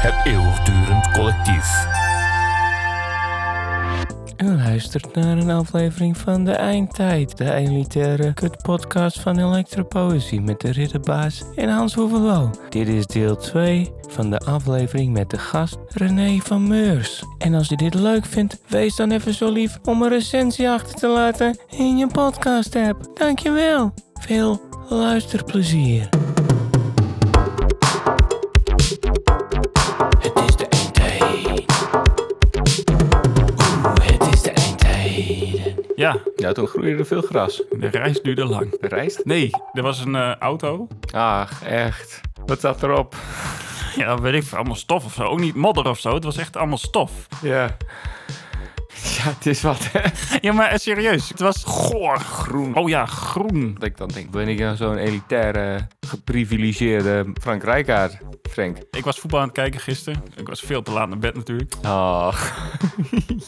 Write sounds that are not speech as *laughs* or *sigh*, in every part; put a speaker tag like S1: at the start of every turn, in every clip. S1: Het eeuwigdurend collectief.
S2: En luistert naar een aflevering van De Eindtijd, de elitaire kutpodcast van Elektropoëzie met de Ridderbaas en Hans Hoevelo. Dit is deel 2 van de aflevering met de gast René van Meurs. En als je dit leuk vindt, wees dan even zo lief om een recensie achter te laten in je podcast app. Dankjewel. Veel luisterplezier. Het is de Eindtijd. Oeh, het is de eindtijd.
S3: Ja,
S4: Ja, toen groeide er veel gras.
S3: de reis duurde lang.
S4: Rijst?
S3: Nee, er was een eh, auto.
S4: Ach, echt. Wat zat erop?
S3: Ja, weet ik veel, allemaal stof of zo. Ook niet modder of zo. Het was echt allemaal stof.
S4: Ja. Ja, het is wat, hè?
S3: Ja, maar eh, serieus. Het was goor groen. Oh ja, groen.
S4: Dat ik dan denk, ben ik nou zo'n elitaire, geprivilegeerde Frank Rijkaard? Frank.
S3: Ik was voetbal aan het kijken gisteren. Ik was veel te laat naar bed natuurlijk.
S4: Ach.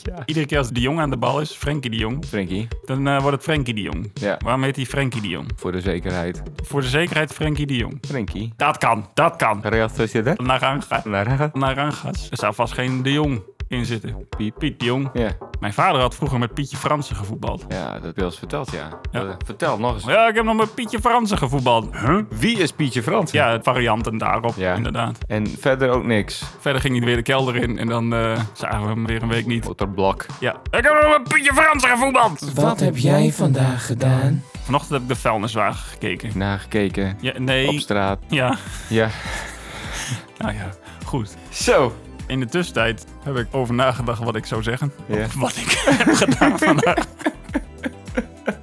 S4: ja.
S3: Iedere keer als de Jong aan de bal is, Frenkie de Jong,
S4: Frankie,
S3: dan eh, wordt het Frenkie de Jong.
S4: Ja.
S3: Waarom heet hij Frenkie de Jong?
S4: voor de zekerheid.
S3: Voor de zekerheid Frenkie de Jong.
S4: Frankie.
S3: Dat kan, dat kan.
S4: Real Sociedad?
S3: Naranga.
S4: Naar
S3: Narangas. Er zou vast geen de Jong in zitten.
S4: Piep.
S3: Piet de Jong.
S4: Ja.
S3: Mijn vader had vroeger met Pietje Fransen gevoetbald.
S4: Ja, dat heb je al eens verteld, ja.
S3: Ja.
S4: Eh, vertel nog eens.
S3: Ja, ik heb nog met Pietje Fransen gevoetbald. Huh?
S4: Wie is Pietje Frans?
S3: Ja, varianten daarop,
S4: Ja.
S3: inderdaad.
S4: En verder ook niks.
S3: Verder ging hij weer de kelder in en dan eh, zagen we hem weer een week niet.
S4: Otterblok.
S3: Ja. Ik heb nog met Pietje Fransen gevoetbald!
S2: Wat heb jij vandaag gedaan?
S3: Vanochtend heb ik de vuilniswagen gekeken.
S4: Nagekeken.
S3: Ja,
S4: Op
S3: nee.
S4: straat.
S3: Ja,
S4: Ja.
S3: nou ja, goed.
S4: Zo.
S3: In de tussentijd heb ik over nagedacht wat ik zou zeggen.
S4: Ja.
S3: Wat ik *laughs* heb gedaan vandaag.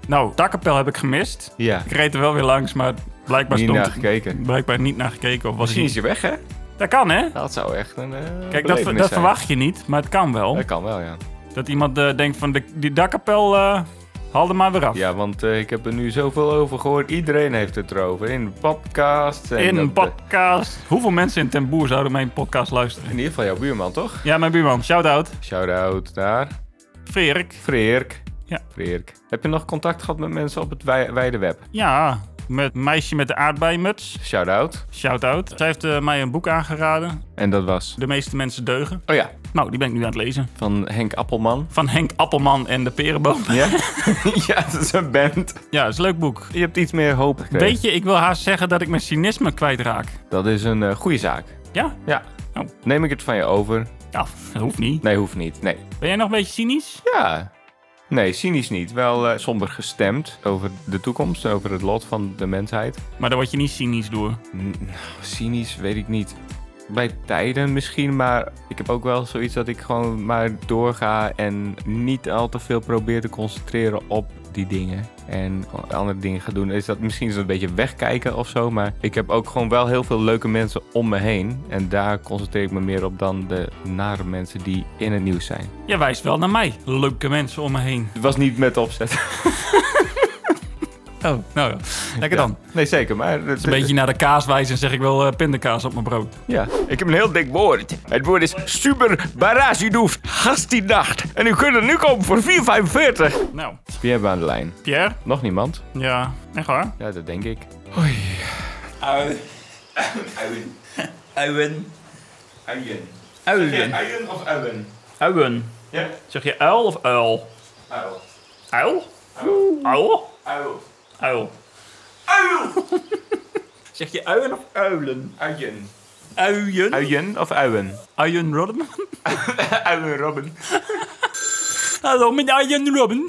S3: nou, dakkapel heb ik gemist.
S4: Ja.
S3: Ik reed er wel weer langs, maar blijkbaar
S4: Niet
S3: stond...
S4: naar gekeken.
S3: Blijkbaar niet naar gekeken of was
S4: Misschien is
S3: hij...
S4: je weg, hè?
S3: Dat kan, hè?
S4: Dat zou echt een. eh,
S3: Kijk, dat,
S4: belevenis
S3: ver-
S4: zijn.
S3: dat verwacht je niet, maar het kan wel.
S4: Dat kan wel, ja.
S3: Dat iemand eh, denkt van de, die dakkapel, eh haal er maar weer af.
S4: Ja, want eh, ik heb er nu zoveel over gehoord. Iedereen heeft het erover. In de podcast. En
S3: in
S4: dat,
S3: een
S4: eh,
S3: podcast. Hoeveel mensen in Ten Boer zouden mijn podcast
S4: in
S3: luisteren?
S4: ieder geval jouw buurman, toch?
S3: Ja, mijn buurman. Shout-out.
S4: Shout-out naar
S3: Frerik.
S4: Freerk.
S3: Ja.
S4: Freerk. Heb je nog contact gehad met mensen op het wij- wijde web?
S3: Ja, met meisje met de aardbeimuts.
S4: Shout-out.
S3: Shout-out. Zij heeft eh, mij een boek aangeraden.
S4: En dat was...
S3: De meeste mensen deugen.
S4: Oh ja,
S3: Nou, die ben ik nu aan het lezen.
S4: van Henk Appelman.
S3: Van Henk Appelman en de Perenboom. *laughs*
S4: *laughs* Ja? ja, dat is een band.
S3: Ja, is een leuk boek.
S4: Je hebt iets meer hoop gekregen.
S3: Weet je, ik wil haast zeggen dat ik mijn cynisme kwijtraak.
S4: Dat is een eh, goede zaak.
S3: Ja?
S4: Ja.
S3: Oh.
S4: Neem ik het van je over?
S3: Ja, dat hoeft niet.
S4: Nee, hoeft niet. Nee.
S3: Ben jij nog een beetje cynisch?
S4: Ja. Nee, cynisch niet. Wel eh, somber gestemd over de toekomst, over het lot van de mensheid.
S3: Maar daar word je niet cynisch door.
S4: Mm, nou, cynisch weet ik niet. Bij tijden misschien, maar ik heb ook wel zoiets dat ik gewoon maar doorga en niet al te veel probeer te concentreren op die dingen. En gewoon andere dingen ga doen. Is dat misschien is dat een beetje wegkijken of zo. Maar ik heb ook gewoon wel heel veel leuke mensen om me heen. En daar concentreer ik me meer op dan de nare mensen die in het nieuws zijn.
S3: Je wijst wel naar mij. Leuke mensen om me heen.
S4: Het was niet met opzet. *laughs*
S3: Oh, nou ja. Lekker dan.
S4: Ja. Nee, zeker. Maar het
S3: Een beetje naar de kaas wijzen en zeg ik wel eh, pindakaas op mijn brood.
S4: Ja. Ik heb een heel dik woord. Het woord is super barasidoef hastidacht. En u kunt er nu kopen voor 4,45.
S3: Nou,
S4: Wie hebben we aan de lijn?
S3: Pierre?
S4: Nog niemand?
S3: Ja, echt waar?
S4: Ja, dat denk ik.
S5: Uien. Uien.
S4: Uien.
S5: Uien.
S4: Uien of uien?
S5: Uien.
S4: Ja.
S5: Zeg je uil of uil?
S4: Uil.
S5: Uil? Uil?
S4: Uil.
S5: Uil. *laughs* Zeg je uien of uilen?
S4: Uien.
S5: Uien.
S4: Uien of uien?
S3: Arjen
S5: *laughs*
S3: Rodman?
S4: Uien Robin.
S3: Hallo, met Arjen Robben.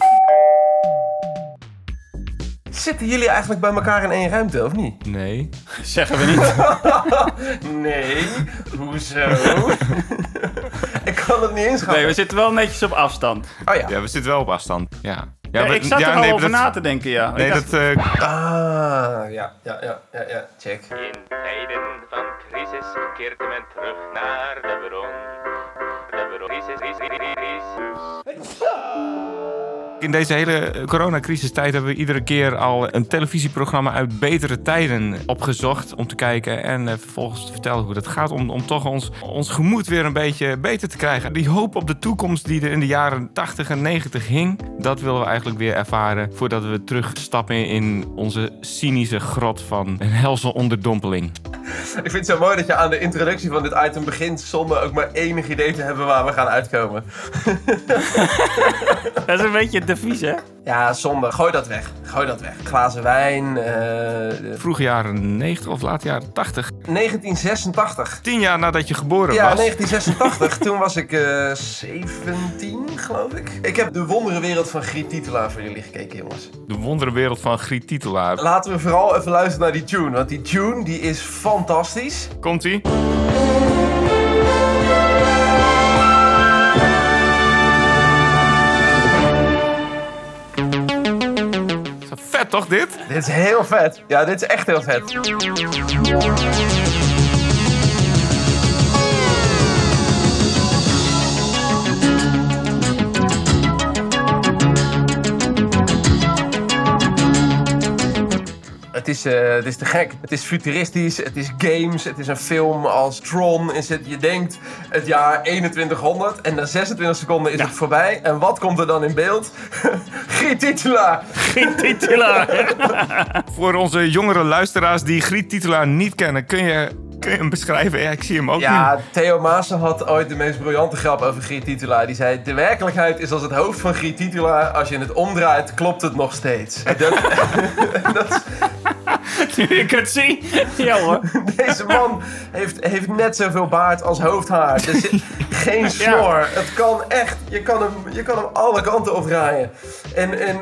S6: Zitten jullie eigenlijk bij elkaar in één ruimte, of niet?
S4: Nee.
S3: Zeggen we niet.
S6: Nee, hoezo? *laughs* ik kan het niet eens gaan.
S3: Nee, we zitten wel netjes op afstand.
S6: Oh ja.
S4: Ja, we zitten wel op afstand. Ja. Ja,
S3: Ja,
S4: maar-
S3: ik zat
S4: ja,
S3: er al
S4: nee,
S3: over
S4: dat-
S3: na te denken, ja.
S4: Nee,
S3: Ik dacht-
S4: dat... eh,
S6: Ah, ja, ja, ja, ja, ja, check.
S7: In tijden van crisis keert men terug naar de bron. De bron. Crisis, crisis, crisis.
S4: In deze hele eh, coronacrisistijd hebben we iedere keer al een televisieprogramma uit betere tijden opgezocht om te kijken en eh, vervolgens te vertellen hoe dat gaat om, om toch ons, ons gemoed weer een beetje beter te krijgen. Die hoop op de toekomst die er in de jaren 80 en 90 hing, dat willen we eigenlijk weer ervaren voordat we terugstappen in onze cynische grot van een helse onderdompeling.
S6: Ik vind het zo mooi dat je aan de introductie van dit item begint zonder ook maar enig idee te hebben waar we gaan uitkomen.
S3: Dat is een beetje de vies, *laughs* hè?
S6: Ja, zonde. Gooi dat weg. Gooi dat weg. Glazen wijn. eh,
S4: Vroeg jaren 90 of laat jaren 80.
S6: 1986.
S4: Tien jaar nadat je geboren
S6: Ja,
S4: was. *laughs*
S6: 1986. Toen was ik eh 17, geloof ik. Ik heb de wonderenwereld van Griet Titelaar voor jullie gekeken, jongens.
S4: De wonderenwereld van Griet Titelaar.
S6: Laten we vooral even luisteren naar die tune. Want die tune die is fantastisch.
S4: Komt-ie? Is dat Vet toch dit?
S6: Dit is heel vet. Ja, dit is echt heel vet. Het is, eh, het is te gek. Het is futuristisch, het is games, het is een film als Tron. Is het, je denkt het jaar 2100 en na 26 seconden is het voorbij. En wat komt er dan in beeld? *laughs* Giet Titula!
S3: Geen titelaar.
S4: Voor onze jongere luisteraars die Griet Titelaar niet kennen, kun je, kun je hem beschrijven? Ja, ik zie hem ook niet.
S6: Ja, Theo Maassen had ooit de meest briljante grap over Griet Titulaar. Die zei, de werkelijkheid is als het hoofd van Griet Titulaar. Als je het omdraait, klopt het nog steeds. Dat, *laughs*
S3: Nu ik het zie. Ja hoor.
S6: deze man heeft, heeft net zoveel baard als hoofdhaar. Er zit geen snor. Het kan echt, je kan, hem, je kan hem alle kanten opdraaien. En, en,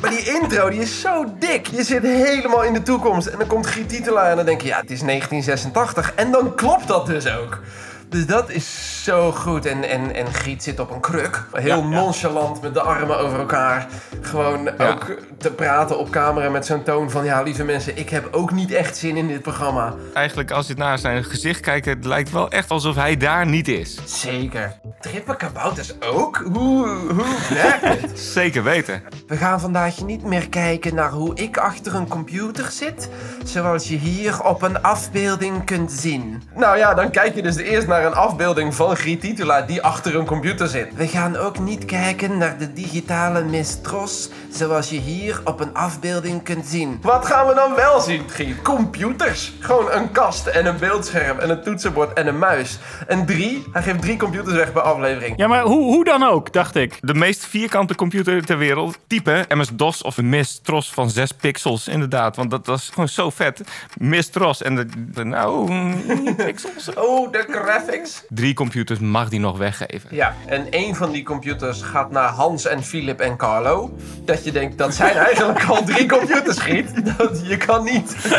S6: maar die intro, die is zo dik. Je zit helemaal in de toekomst. En dan komt Griet Titelaar en dan denk je, ja, het is 1986. En dan klopt dat dus ook. Dus dat is zo goed. En, en, en Griet zit op een kruk. Heel nonchalant met de armen over elkaar. Gewoon ook te praten op camera met zo'n toon van... Ja, lieve mensen, ik heb ook niet echt zin in dit programma.
S4: Eigenlijk, als je het naar zijn gezicht kijkt, het lijkt wel echt alsof hij daar niet is.
S6: Zeker. Trippen kabouters ook? Hoe, hoe werkt het?
S4: Zeker weten.
S6: We gaan vandaag niet meer kijken naar hoe ik achter een computer zit, zoals je hier op een afbeelding kunt zien. Nou ja, dan kijk je dus eerst naar een afbeelding van Griet Titula die achter een computer zit. We gaan ook niet kijken naar de digitale mistros, zoals je hier op een afbeelding kunt zien. Wat gaan we dan wel zien, Griet? Computers! Gewoon een kast en een beeldscherm en een toetsenbord en een muis. En drie, hij geeft drie computers weg per aflevering.
S3: Ja, maar hoe, hoe dan ook, dacht ik.
S4: De meest vierkante computer ter wereld. Type MS-DOS of MIS-TROS van 6 pixels, inderdaad. Want dat was gewoon zo vet. MIS-TROS en de, de- nou, mm, pixels.
S6: Oh, de graphics!
S4: *laughs* Drie computers mag die nog weggeven.
S6: Ja, en één van die computers gaat naar Hans en Philip en Carlo. Dat je denkt, dat zijn *laughs* eigenlijk al drie computers, Giet. Dat, je kan niet... *laughs*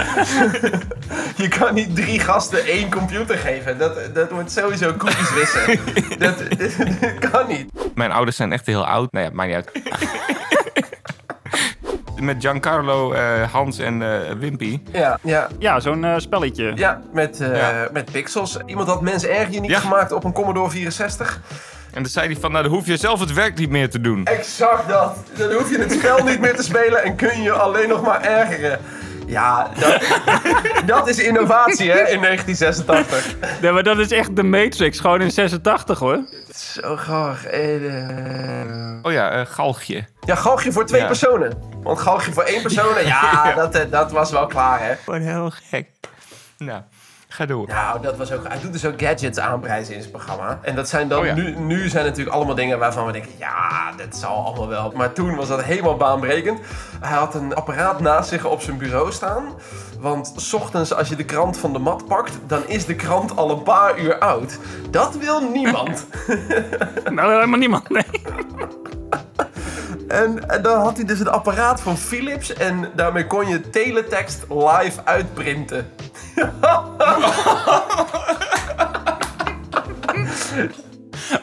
S6: je kan niet drie gasten één computer geven. Dat, dat wordt sowieso cookies
S4: *laughs*
S6: wissen. dat, *laughs* dat, dat kan niet.
S4: Mijn ouders zijn echt heel oud. Nou ja, maakt niet uit. *laughs* Met Giancarlo, eh, Hans en eh, Wimpy.
S6: Ja, ja,
S3: Ja, zo'n eh, spelletje.
S6: ja, met, eh,
S4: Ja.
S6: met pixels. Iemand had mens erg uniek
S4: Ja.
S6: gemaakt op een Commodore 64.
S4: En dan zei hij van, nou, dan hoef je zelf het werk niet meer te doen.
S6: Exact dat. Dan hoef je het spel niet meer te spelen en kun je alleen nog maar ergeren. Ja, dat, *laughs* dat is innovatie hè, in 1986.
S3: Nee, maar dat is echt de Matrix, gewoon in 86 hoor.
S6: Zo graag. eh.
S4: Oh ja, eh, galgje.
S6: Ja, galgje voor twee
S4: Ja.
S6: personen. Want galgje voor één persoon, ja, Dat, eh, dat was wel klaar hè.
S4: Gewoon heel gek. Nou, ga door.
S6: Nou, dat was ook. Hij doet dus ook gadgets aanprijzen in zijn programma. En dat zijn dan.
S4: Oh ja.
S6: nu, nu zijn natuurlijk allemaal dingen waarvan we denken: ja, dat zal allemaal wel. Maar toen was dat helemaal baanbrekend. Hij had een apparaat naast zich op zijn bureau staan. Want 's ochtends, als je de krant van de mat pakt, dan is de krant al een paar uur oud. Dat wil
S4: *laughs*
S6: niemand.
S3: Nou, helemaal niemand, nee.
S6: En, en dan had hij dus een apparaat van Philips. En daarmee kon je teletext live uitprinten.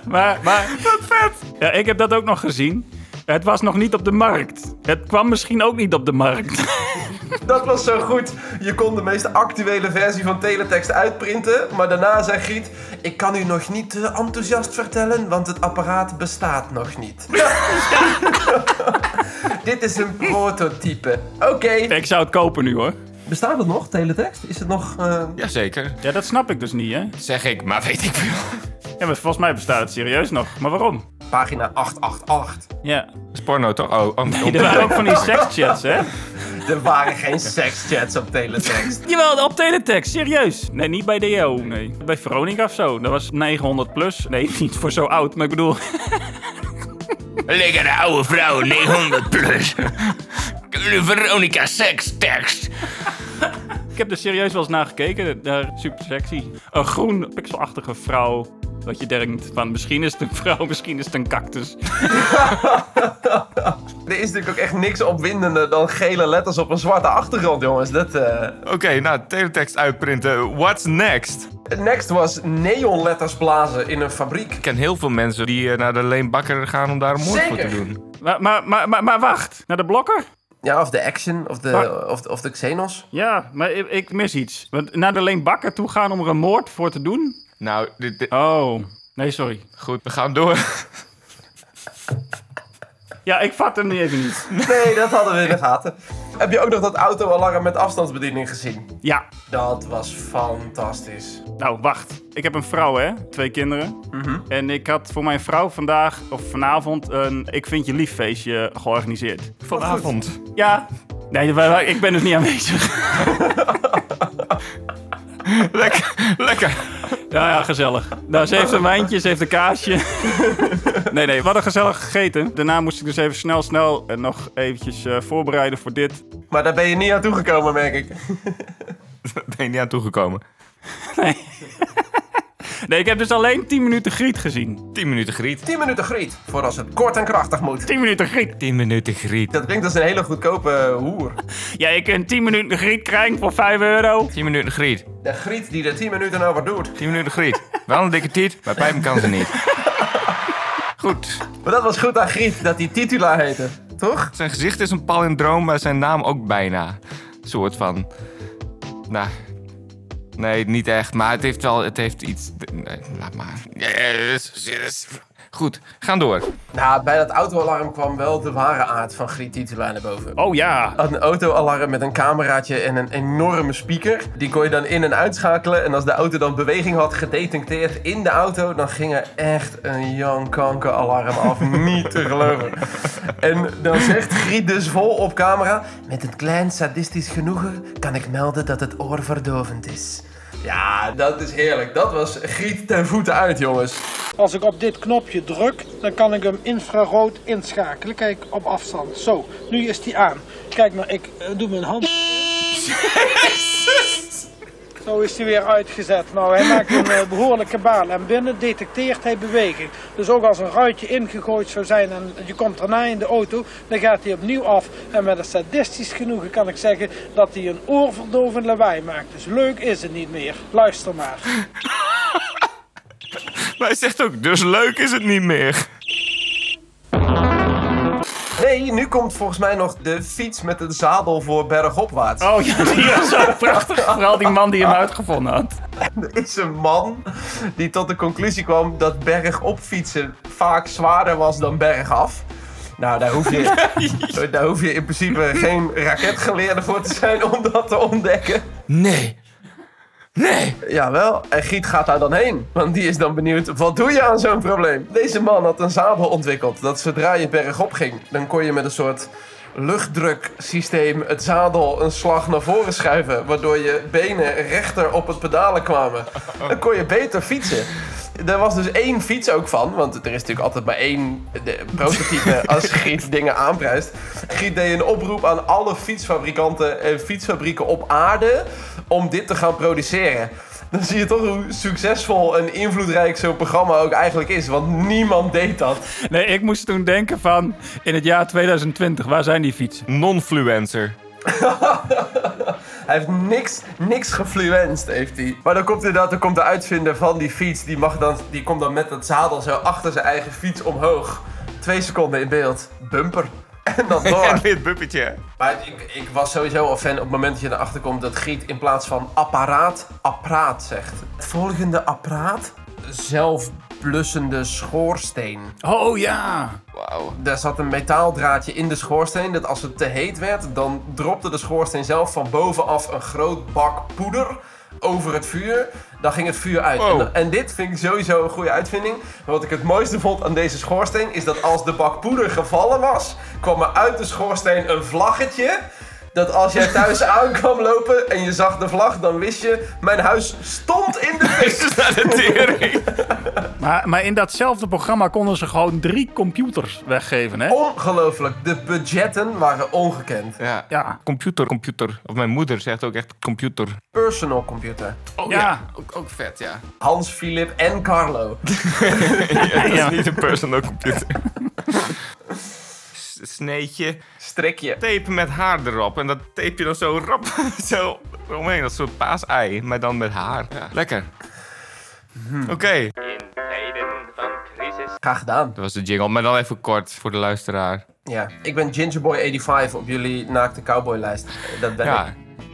S3: Maar, maar... *laughs* Wat vet! Ja, ik heb dat ook nog gezien. Het was nog niet op de markt. Het kwam misschien ook niet op de markt. *laughs*
S6: Dat was zo goed. Je kon de meest actuele versie van teletext uitprinten. Maar daarna zei Griet: Ik kan u nog niet te enthousiast vertellen, want het apparaat bestaat nog niet. *laughs* Dit is een prototype. Oké.
S3: Ik zou het kopen nu hoor.
S6: Bestaat het nog, teletext? Is het nog. eh,
S4: Jazeker,
S3: Ja, dat snap ik dus niet hè.
S4: zeg ik, maar weet ik veel.
S3: Ja, maar volgens mij bestaat het serieus nog. Maar waarom?
S6: pagina 888.
S3: Ja.
S4: Dat is porno toch? Oh, oh,
S3: Er waren ook van die sekschats, hè?
S6: Er waren geen sekschats op teletext.
S3: Jawel, op teletext, serieus. Nee, niet bij DO, nee. Bij Veronica of zo. Dat was 900 plus. Nee, *laughs* niet voor zo oud, maar ik
S1: *laughs*
S3: bedoel...
S1: Lekkere oude vrouw, 900 plus. Veronica seks tekst.
S3: Ik heb er serieus wel eens naar gekeken. Daar, super sexy. Een groen, pixelachtige vrouw. Dat je denkt van, misschien is het een vrouw, *laughs* misschien is het een cactus.
S6: Er is natuurlijk ook echt niks opwindender dan gele letters op een zwarte achtergrond, jongens. Dat, eh,
S4: Oké, nou, teletext uitprinten. What's next?
S6: Next was neonletters blazen in een fabriek.
S4: Ik ken heel veel mensen die eh, naar de leenbakker gaan om daar een moord voor te
S6: Zeker.
S4: doen.
S3: Maar, maar, maar, maar, maar wacht, naar de blokker?
S6: Ja, of de Action, of de, of, of de Xenos.
S3: Ja, maar ik, ik mis iets. Want naar de leenbakker toe gaan om er een moord voor te doen?
S4: Nou, dit, dit-
S3: Oh, nee, sorry.
S4: goed, we gaan door. *laughs*
S3: Ja, ik vat hem niet even niet.
S6: Nee, dat hadden we in de gaten. Heb je ook nog dat autoalarm met afstandsbediening gezien?
S3: Ja,
S6: Dat was fantastisch.
S3: nou, wacht. Ik heb een vrouw, hè? Twee kinderen. En ik had voor mijn vrouw vandaag, of vanavond, een Ik Vind Je Lief feestje georganiseerd.
S4: Vanavond.
S3: Ja. Nee, wa- wa- ik ben dus niet aanwezig.
S4: *laughs* Lekker, lekker.
S3: Ja, ja, gezellig. Nou, ze heeft een wijntje, ze heeft een kaasje. Nee, nee, we hadden gezellig gegeten. Daarna moest ik dus even snel, snel eh, nog eventjes eh, voorbereiden voor dit.
S6: Maar daar ben je niet aan toegekomen, merk ik.
S4: Ben je niet aan toegekomen.
S3: Nee, ik heb dus alleen 10 minuten Griet gezien.
S4: 10 minuten griet.
S6: 10 minuten griet, voor als het kort en krachtig moet.
S3: 10 minuten Griet.
S4: 10 minuten griet.
S6: Dat klinkt als een hele goedkope eh, hoer.
S3: Ja, je kunt 10 minuten Griet krijgen voor 5 euro.
S4: 10 minuten griet.
S6: De griet die er 10 minuten over doet.
S4: 10 minuten griet. Wel een dikke tiet, maar pijpen kan ze niet. Goed.
S6: Maar dat was goed aan griet, dat die titula heette. Toch?
S4: Zijn gezicht is een palindroom, maar zijn naam ook bijna. soort van. Nou. Nee, niet echt, maar het heeft wel. Het heeft iets. Nee, laat maar. Yes, yes. Goed, gaan door.
S6: Nou, bij dat autoalarm kwam wel de ware aard van griet titula naar boven.
S3: Oh ja.
S6: had een autoalarm met een cameraatje en een enorme speaker. Die kon je dan in- en uitschakelen. En als de auto dan beweging had gedetecteerd in de auto, dan ging er echt een Jan Kanker alarm af. Niet te geloven. En dan zegt Griet dus vol op camera: Met een klein sadistisch genoegen kan ik melden dat het oor verdovend is. Ja, dat is heerlijk. Dat was Griet ten voeten uit, jongens.
S8: Als ik op dit knopje druk, dan kan ik hem infrarood inschakelen. Kijk, op afstand. Zo, nu is die aan. Kijk maar, ik eh, doe mijn hand. Zo is hij weer uitgezet. Nou, hij maakt een eh, behoorlijke baan en binnen detecteert hij beweging. Dus ook als een ruitje ingegooid zou zijn en je komt daarna in de auto, dan gaat hij opnieuw af. En met een sadistisch genoegen kan ik zeggen dat hij een oorverdovend lawaai maakt. Dus leuk is het niet meer. Luister maar.
S4: Maar hij zegt ook, dus leuk is het niet meer.
S6: Nee, nu komt volgens mij nog de fiets met een zadel voor bergopwaarts.
S3: Oh ja, die was zo prachtig. Vooral die man die hem uitgevonden had.
S6: Er *laughs* is een man die tot de conclusie kwam dat bergop fietsen vaak zwaarder was dan bergaf. Nou, daar hoef je, daar hoef je in principe geen raketgeleerde voor te zijn om dat te ontdekken.
S4: Nee. Nee.
S6: Jawel, en Giet gaat daar dan heen. Want die is dan benieuwd, wat doe je aan zo'n probleem? Deze man had een zadel ontwikkeld dat zodra je bergop ging, dan kon je met een soort luchtdruksysteem het zadel een slag naar voren schuiven. Waardoor je benen rechter op het pedalen kwamen. Dan kon je beter fietsen. Er was dus één fiets ook van, want er is natuurlijk altijd maar één eh, de prototype als Giet dingen aanprijst. Giet deed een oproep aan alle fietsfabrikanten en fietsfabrieken op aarde om dit te gaan produceren. Dan zie je toch hoe succesvol en invloedrijk zo'n programma ook eigenlijk is, want niemand deed dat. *laughs*
S3: Nee, ik moest toen denken van in het jaar 2020, waar zijn die fietsen?
S4: Non-fluencer. *laughs*
S6: Hij heeft niks, niks gefluenced, heeft hij. Maar dan komt inderdaad, dan komt de uitvinder van die fiets, die, mag dan, die komt dan met dat zadel zo achter zijn eigen fiets omhoog. Twee seconden in beeld. Bumper. *laughs* En dan door.
S4: En dit buppetje.
S6: Maar ik, ik was sowieso al fan op het moment dat je erachter komt dat Griet in plaats van apparaat, apparaat zegt. Het volgende apparaat? Zelfblussende schoorsteen.
S3: Oh ja.
S4: Wauw.
S6: Daar zat een metaaldraadje in de schoorsteen. Dat als het te heet werd, dan dropte de schoorsteen zelf van bovenaf een groot bak poeder. over het vuur. Dan ging het vuur uit. En, en dit vind ik sowieso een goede uitvinding. Maar wat ik het mooiste vond aan deze schoorsteen is dat als de bak poeder gevallen was, kwam er uit de schoorsteen een vlaggetje. Dat als jij thuis aankwam lopen en je zag de vlag, dan wist je, mijn huis stond in de fik.
S3: Maar, maar in datzelfde programma konden ze gewoon drie computers weggeven, hè?
S6: Ongelooflijk, de budgetten waren ongekend.
S4: Ja.
S3: Ja.
S4: Computer, computer. Of mijn moeder zegt ook echt computer.
S6: Personal computer.
S4: Oh
S3: ja.
S4: Ook, ook vet, ja.
S6: Hans, Filip en Carlo.
S4: Dat
S3: Ja.
S4: is niet een personal computer. S- *laughs* Sneetje,
S6: Strikje.
S4: tape met haar erop. En dat tape je dan zo rap *laughs* zo omheen. Dat is een soort paasei, maar dan met haar. Mhm. Lekker. Oké,
S7: In tijden van crisis.
S6: Graag gedaan.
S4: dat was de jingle. Maar dan even kort voor de luisteraar.
S6: Ja, ik ben Gingerboy85 op jullie naakte cowboylijst. Eh, Dat ben ik.
S4: Ja,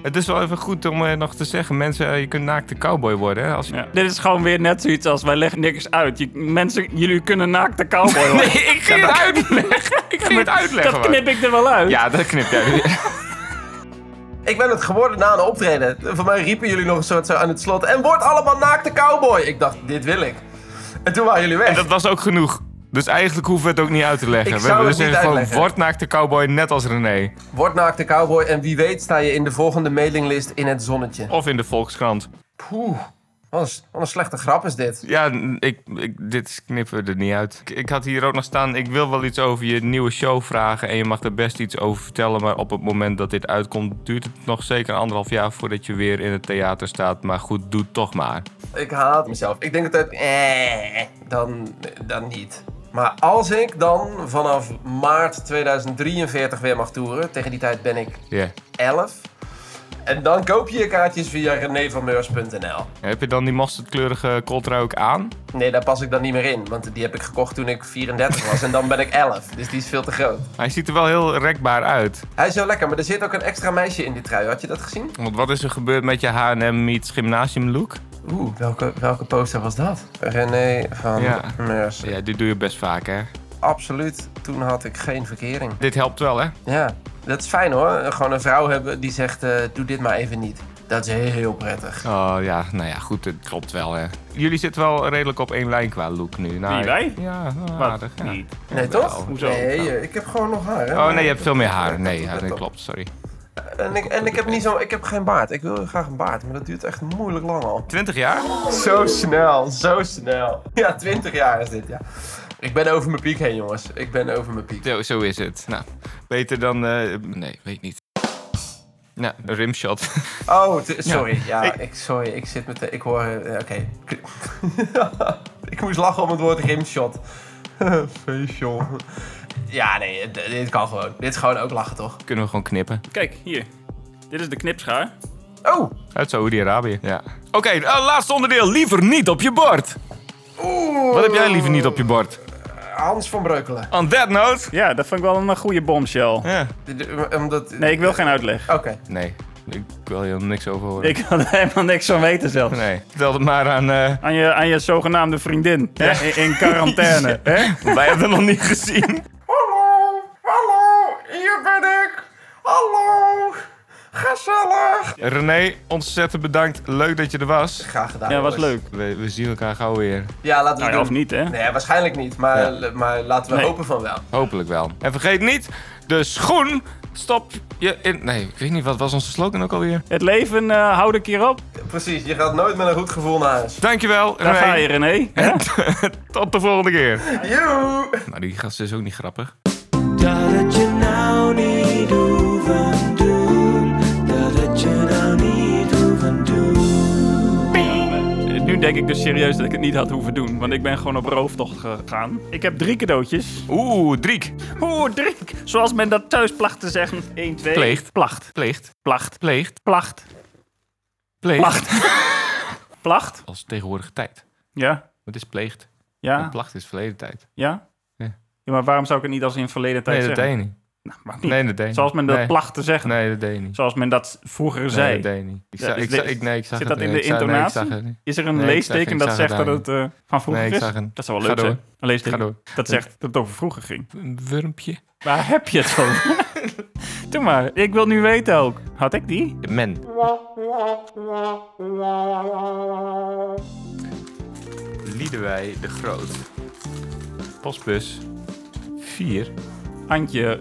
S4: het is wel even goed om eh, nog te zeggen. Mensen, eh, je kunt naakte cowboy worden. Hè, als je...
S3: Dit is gewoon weer net zoiets als wij leggen niks uit. Je- mensen, jullie kunnen naakte cowboy
S4: *laughs*
S3: worden.
S4: Ik ging het uitleggen. Ik ging het uitleggen.
S3: dat
S4: maar.
S3: knip ik er wel
S6: *laughs*
S3: uit.
S4: Ja, dat knip jij.
S6: Ik ben het geworden na een optreden. Voor mij riepen jullie nog een soort zo aan het slot. En word allemaal naakte cowboy. Ik dacht, dit wil ik. En toen waren jullie weg.
S4: *laughs* Dat was ook genoeg. Dus eigenlijk hoeven we het ook niet uit te leggen.
S6: Ik
S4: we
S6: zou
S4: hebben
S6: het
S4: dus
S6: niet
S4: gewoon
S6: uitleggen.
S4: word naakte cowboy, net als René.
S6: Word naakte cowboy en wie weet sta je in de volgende mailinglist in het zonnetje.
S4: Of in de Volkskrant.
S6: Poeh, wat een, wat een slechte grap is dit.
S4: Ja, ik, ik, dit knippen we er niet uit. Ik, ik had hier ook nog staan, ik wil wel iets over je nieuwe show vragen. En je mag er best iets over vertellen. Maar op het moment dat dit uitkomt, duurt het nog zeker anderhalf jaar voordat je weer in het theater staat. Maar goed, doe het toch maar.
S6: Ik haat mezelf. Ik denk altijd, eh, dan, dan niet. Maar als ik dan vanaf maart 2043 weer mag toeren, tegen die tijd ben ik
S4: Ja.
S6: 11. En dan koop je je kaartjes via renévanmeurs.nl.
S4: Heb je dan die mosterdkleurige kooltruik aan?
S6: Nee, daar pas ik dan niet meer in, want die heb ik gekocht toen ik 34 was en dan ben ik 11. Dus die is veel te groot.
S4: Hij ziet er wel heel rekbaar uit.
S6: Hij is wel lekker, maar er zit ook een extra meisje in die trui. Had je dat gezien?
S4: Want wat is er gebeurd met je H&M meets gymnasium look?
S6: Oeh, welke, welke poster was dat? René van
S4: Ja.
S6: Meurs.
S4: Ja, dit doe je best vaak hè.
S6: Absoluut, toen had ik geen verkering.
S4: Dit helpt wel hè.
S6: Ja, dat is fijn hoor. Gewoon een vrouw hebben die zegt, eh, doe dit maar even niet. Dat is heel prettig.
S4: Oh ja, nou ja, goed, het klopt wel hè. Jullie zitten wel redelijk op één lijn qua look nu. Nou,
S5: Wie, wij?
S4: Ja, nou,
S5: Wat?
S4: aardig. ja. nou,
S5: Niet.
S6: Nee, toch?
S5: Hoezo?
S6: Nee, eh, ik heb gewoon nog haar. Hè?
S4: Oh nee, je hebt veel meer haar. Nee, ja, *laughs*
S6: dat
S4: dat
S6: klopt.
S4: klopt, sorry.
S6: En, ik, en ik, heb niet zo, ik heb geen baard. Ik wil graag een baard, maar dat duurt echt moeilijk lang al.
S4: 20 jaar?
S6: Zo snel, zo snel. Ja, 20 jaar is dit, ja. Ik ben over mijn piek heen, jongens. Ik ben over mijn piek.
S4: Zo, zo is het. Nou, beter dan... eh, nee, weet niet. Nou, een rimshot. *laughs*
S6: Oh, t- sorry. Ja, ik, sorry. Ik zit met de... Ik hoor... eh, Oké. *laughs* ik moest lachen om het woord rimshot. *laughs* Facial. Ja, nee. d- Dit kan gewoon. Dit is gewoon ook lachen, toch?
S4: Kunnen we gewoon knippen.
S5: Kijk, hier. Dit is de knipschaar.
S6: Oh!
S4: Uit Saoedi-Arabië. Ja. Oké, eh, laatste onderdeel. Liever niet op je bord.
S6: Oeh!
S4: Wat heb jij liever niet op je bord?
S6: Hans van Breukelen.
S4: On that note...
S3: Ja, dat vond ik wel een eh, goede bombshell.
S4: Ja.
S6: D- d- Omdat...
S3: Nee, ik wil geen uitleg.
S4: *laughs*
S6: Oké.
S4: Nee, ik wil hier niks over horen.
S3: Ik kan er helemaal niks van weten zelfs.
S4: Nee, vertel het maar aan... eh,
S3: Aan je, aan je zogenaamde vriendin hè, in, in
S4: *laughs*
S3: quarantaine. hè?
S4: Wij hebben hem nog niet gezien.
S6: Hallo! Hallo! Hier ben ik! Hallo! Gezellig!
S4: René, ontzettend bedankt. Leuk dat je er was.
S6: Graag gedaan,
S3: Ja, was
S6: jongens.
S3: leuk.
S4: We, we zien elkaar gauw weer.
S6: Ja, laten we
S3: Nou
S6: het
S3: ja,
S6: doen.
S3: of niet, hè?
S6: Nee, waarschijnlijk niet. Maar, maar laten we
S3: Nee.
S6: hopen van wel.
S4: Hopelijk wel. En vergeet niet, de schoen stop je in... Nee, ik weet niet, wat was onze slogan ook alweer?
S3: Het leven eh houd ik hier op.
S6: Precies, je gaat nooit met een goed gevoel naar huis.
S4: Dankjewel,
S3: Daar
S4: René.
S3: ga je, René. hè?
S4: Tot de volgende keer.
S6: Joe!
S4: Nou, die gast is ook niet grappig.
S2: Dat het je nou niet hoeven doen. Dat het je nou niet hoeven doen.
S3: Nu denk ik dus serieus dat ik het niet had hoeven doen, want ik ben gewoon op rooftocht gegaan. Ik heb drie cadeautjes.
S4: Oeh, Driek.
S3: Oeh, drie! Zoals men dat thuis placht te zeggen. 1, 2.
S4: Pleegt.
S3: Placht.
S4: Pleegt.
S3: Placht.
S4: Pleegt.
S3: Placht.
S4: Pleegt.
S3: Placht. *laughs* placht.
S4: Als tegenwoordige tijd.
S3: Ja.
S4: Wat is pleegt? En
S3: Ja.
S4: placht is verleden tijd.
S3: Ja.
S4: Ja.
S3: Ja, maar waarom zou ik het niet als in verleden tijd
S4: Nee, dat
S3: zeggen?
S4: deed je niet.
S3: Nou, mag niet.
S4: Nee, dat deed je
S3: Zoals men
S4: niet.
S3: dat
S4: Nee.
S3: placht te zeggen.
S4: Nee, dat deed je niet.
S3: Zoals men dat vroeger
S4: Nee,
S3: zei.
S4: dat deed je niet. Ik
S3: Ja,
S4: zag,
S3: is
S4: ik
S3: dit-
S4: zag, ik, nee, ik zag
S3: zit
S4: het
S3: dat in
S4: niet.
S3: de
S4: Ik zag- nee, ik
S3: intonatie?
S4: zag het niet.
S3: Is er een
S4: Nee, ik zag-
S3: leesteken
S4: ik
S3: dat
S4: zag
S3: zegt
S4: het
S3: dat het eh, van vroeger
S4: Nee, ik
S3: is?
S4: zag het.
S3: Dat zou wel
S4: Ga
S3: leuk zijn.
S4: door.
S3: Een leesteken
S4: Ga door.
S3: dat zegt dat het over vroeger ging.
S4: Een wurmpje. *laughs*
S3: Waar heb je het over? Doe maar. Ik wil nu weten ook. Had ik die?
S4: Men. Liedewij de Groot. Postbus 4.
S3: Antje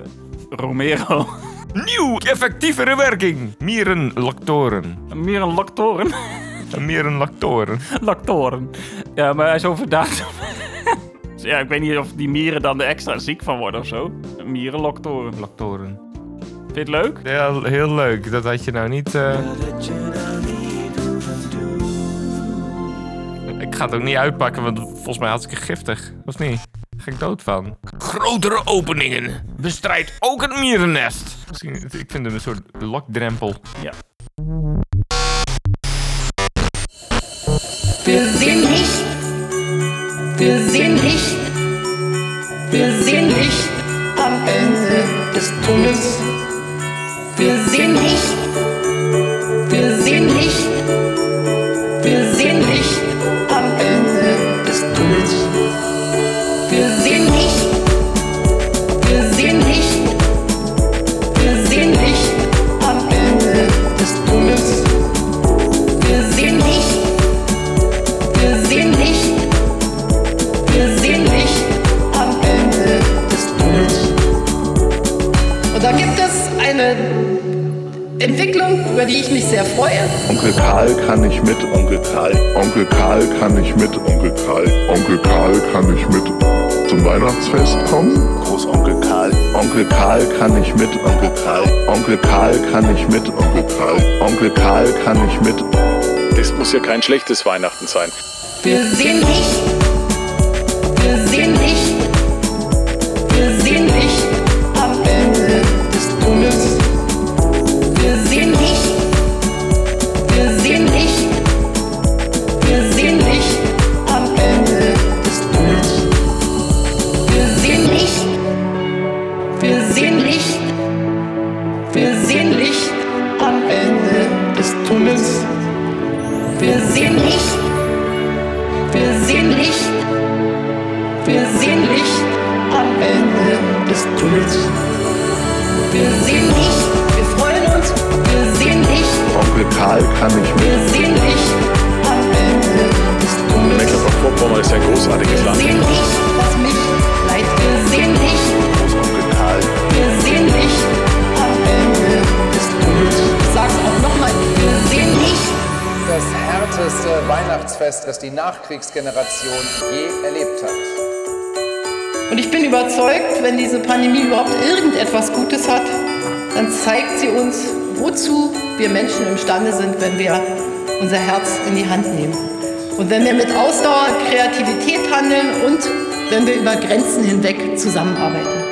S3: Romero.
S4: Nieuw effectievere werking. Mierenlactoren.
S3: Meer een lactoren.
S4: Mierenlactoren.
S3: Lactoren. Ja, maar hij is overdaad. *laughs* Dus ja, ik weet niet of die mieren dan er extra ziek van worden of zo. Mierenlactoren.
S4: Lactoren.
S3: Vind je het leuk?
S4: Heel, heel leuk. Dat had je nou niet... eh. Ik ga het ook niet uitpakken, want volgens mij had ik giftig. Of niet? Daar ga ik dood van.
S1: Grotere openingen. Bestrijd ook het mierennest.
S4: Misschien, ik vind hem een soort lokdrempel.
S9: Wir sind nicht. Wir sind nicht. Wir sind nicht am Ende des Tunnels. Wir sind nicht. Wir sind nicht. Wir sind nicht am Ende des Tunnels. Wir sind nicht. Wir sind nicht. Wir sind nicht am Ende des Tunnels. Wir sind nicht. Wir sind nicht, wir sind nicht am Ende des Tunnels. Und da gibt es eine Entwicklung, über die ich mich sehr freue.
S10: Onkel Karl kann ich mit, Onkel Karl. Onkel Karl kann ich mit, Onkel Karl. Onkel Karl kann ich mit zum Weihnachtsfest kommen. Großonkel Karl. Onkel Karl kann ich mit, Onkel Karl. Onkel Karl kann ich mit, Onkel Karl. Onkel Karl kann ich mit.
S11: Es muss ja kein schlechtes Weihnachten sein.
S9: Wir sind nicht, wir sind nicht, wir sind nicht am Ende des Tunnels. Wir sind nicht, wir sind nicht, wir sind nicht am Ende des Tunnels. Wir sind nicht, wir sind nicht, wir sind nicht am Ende des Tunnels. Wir sind nicht. Wir sehen Licht, wir sehen Licht am Ende des Tunnels. Wir sehen Licht, wir freuen uns, wir sehen Licht,
S10: Onkel Karl kann ich mit.
S9: wir sehen Licht am Ende des Tunnels.
S11: Mecklenburg-Vorpommern ist ein großartiges
S9: Wir
S11: Land.
S9: sehen Licht, was mich leidt, wir sehen Licht,
S10: Großonkel Karl.
S9: wir sehen Licht am Ende des Tunnels. Ich sag's auch nochmal, wir sehen Licht.
S8: Das härteste Weihnachtsfest, das die Nachkriegsgeneration je erlebt hat.
S9: Und ich bin überzeugt, wenn diese Pandemie überhaupt irgendetwas Gutes hat, dann zeigt sie uns, wozu wir Menschen imstande sind, wenn wir unser Herz in die Hand nehmen. Und wenn wir mit Ausdauer, Kreativität handeln und wenn wir über Grenzen hinweg zusammenarbeiten.